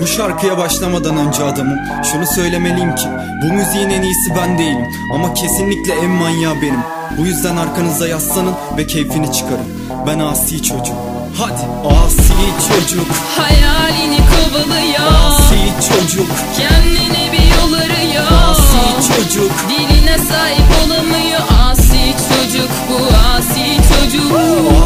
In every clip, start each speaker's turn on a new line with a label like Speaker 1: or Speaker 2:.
Speaker 1: Bu şarkıya başlamadan önce adamım Şunu söylemeliyim ki Bu müziğin en iyisi ben değilim Ama kesinlikle en manyağı benim Bu yüzden arkanıza yaslanın ve keyfini çıkarın Ben asi çocuk Hadi asi çocuk
Speaker 2: Hayalini kovalıyor
Speaker 1: Asi çocuk
Speaker 2: Kendine bir yol arıyor
Speaker 1: Asi çocuk
Speaker 2: Diline sahip olamıyor Asi çocuk bu asi çocuk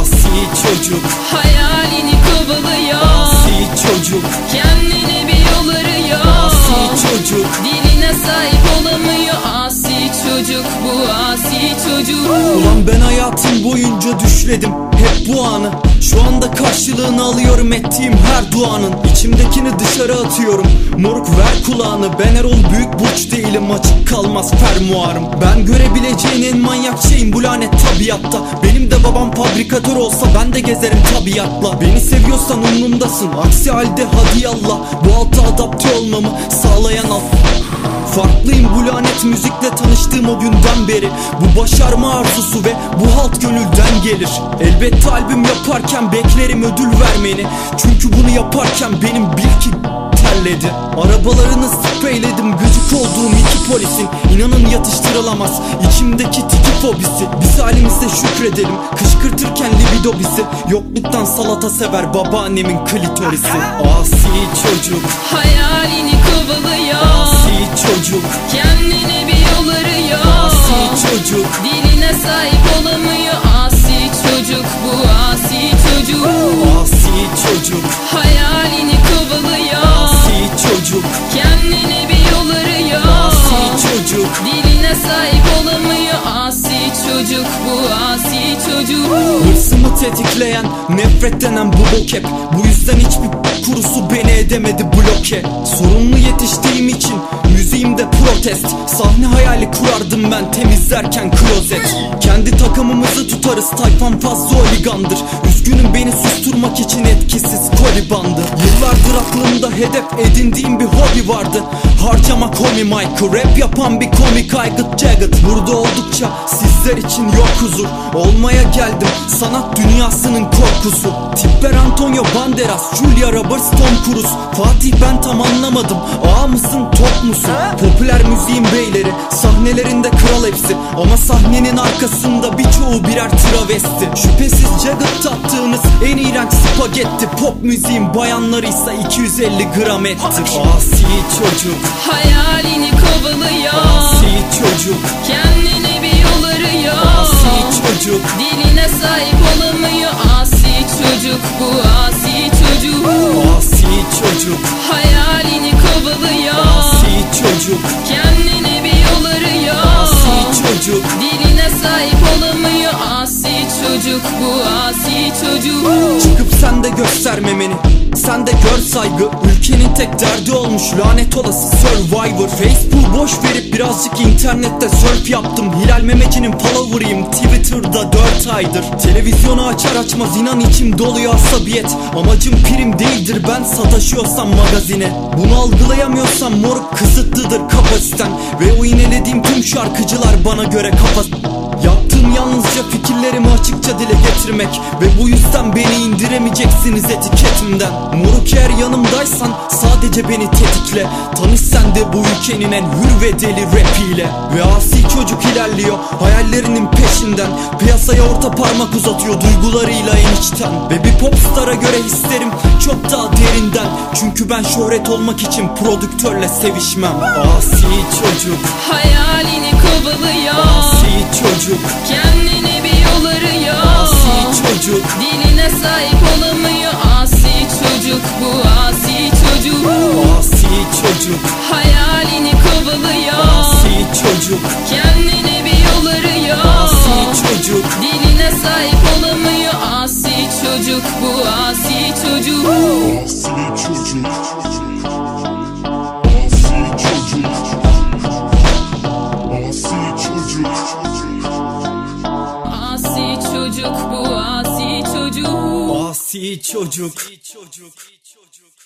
Speaker 1: Asi çocuk
Speaker 2: Hayalini kovalıyor
Speaker 1: Asi çocuk
Speaker 2: Kendine bir yol arıyor
Speaker 1: Asi çocuk
Speaker 2: Diline sahip olamıyor Asi çocuk bu asi çocuk
Speaker 1: Ulan ben hayatım boyunca düşledim hep bu anı Şu anda karşılığını alıyorum ettiğim her duanın İçimdekini dışarı atıyorum moruk ver kulağını Ben Erol Büyük Burç değilim açık kalmaz fermuarım Ben görebileceğin en manyak şeyim bu lanet tabiatta Benim de babam fabrikatör olsa ben de gezerim tabiatla Beni seviyorsan umrumdasın aksi halde hadi yallah Bu alta adapte olmamı sağlayan alt Farklıyım bu lanet müzikle tanıştığım o günden beri Bu başarma arzusu ve bu halt gönülden gelir Elbette albüm yaparken beklerim ödül vermeni Çünkü bunu yaparken benim bil ki terledi Arabalarını spreyledim gıcık olduğum iki polisin İnanın yatıştırılamaz içimdeki tiki fobisi Biz halimize şükredelim kışkırtırken libido bizi Yokluktan salata sever babaannemin klitorisi Asi çocuk,
Speaker 2: Hayalini kovalıyor
Speaker 1: asi çocuk
Speaker 2: Kendine bir yol arıyor
Speaker 1: Asi çocuk
Speaker 2: Diline sahip olamıyor Asi çocuk bu asi çocuk
Speaker 1: Asi çocuk
Speaker 2: Hayalini kovalıyor
Speaker 1: Asi çocuk
Speaker 2: Kendine bir yol arıyor
Speaker 1: Asi çocuk
Speaker 2: Diline sahip olamıyor Asi çocuk bu asi çocuk
Speaker 1: Hırsımı tetikleyen nefret denen bu bok hep Bu yüzden hiçbir kurusu beni edemedi bloke Sorunlu yetiştiğim için müziğimde protest Sahne hayali kurardım ben temizlerken klozet Kendi takımımızı tutarız tayfan fazla oligandır Üzgünüm beni susturmak için etkisiz kolibandı Yıllardır aklımda hedef edindiğim bir hobi vardı Harcama komi mike'ı rap yapan bir komik aygıt jagged Burada oldukça sizler için yok huzur Olmaya geldim sanat dünyasının korkusu Tipper Antonio Banderas, Julia Roberts, Tom Cruise Fatih ben tam anlamadım ağa mısın top musun? Popüler müziğin beyleri sahnelerinde kral hepsi Ama sahnenin arkasında birçoğu birer travesti Şüphesiz jagged tattığınız en iğrenç spagetti Pop müziğin bayanlarıysa 250 gram ettir Asi çocuk,
Speaker 2: Hayalini kovalıyor
Speaker 1: asi çocuk,
Speaker 2: Kendine bir yol arıyor
Speaker 1: asi çocuk
Speaker 2: Diline sahip olamıyor Asi çocuk bu asi çocuk
Speaker 1: Asi çocuk,
Speaker 2: Hayalini kovalıyor
Speaker 1: asi çocuk,
Speaker 2: Kendine bir yol arıyor
Speaker 1: asi çocuk
Speaker 2: Diline sahip olamıyor Asi çocuk bu asi çocuk
Speaker 1: Çıkıp sen de göstermemeni Sen de gör saygı Ülkenin tek derdi olmuş lanet olası Survivor Facebook boş verip birazcık internette surf yaptım Hilal Memeci'nin follower'ıyım Twitter'da 4 aydır Televizyonu açar açmaz inan içim doluyor asabiyet Amacım prim değildir ben sataşıyorsam magazine Bunu algılayamıyorsam moruk kısıtlıdır kapasiten Ve o inelediğim tüm şarkıcılar bana göre kafa Yaptığım yalnızca fikirlerimi açıkça dile getirmek Ve bu yüzden beni indiremeyeceksiniz etiketimden Moruk eğer yanımdaysan sadece beni tetikle Tanış sen de bu ülkenin en hür ve deli rapiyle Ve asi çocuk ilerliyor hayallerinin peşinden Piyasaya orta parmak uzatıyor duygularıyla en içten Ve bir popstara göre hislerim çok daha derinden Çünkü ben şöhret olmak için prodüktörle sevişmem Asi çocuk,
Speaker 2: Hayalini kovalıyor
Speaker 1: asi çocuk
Speaker 2: Kendine bir yol arıyor
Speaker 1: Asi çocuk,
Speaker 2: Diline sahip olamıyor Asi çocuk bu asi çocuk
Speaker 1: asi çocuk,
Speaker 2: Hayalini kovalıyor
Speaker 1: asi çocuk,
Speaker 2: Kendine bir yol arıyor
Speaker 1: asi çocuk,
Speaker 2: Diline sahip olamıyor Asi çocuk bu asi çocuk
Speaker 3: Asi çocuk Asi çocuk Asi çocuk
Speaker 2: Asi çocuk bu asi çocuk
Speaker 1: asi çocuk.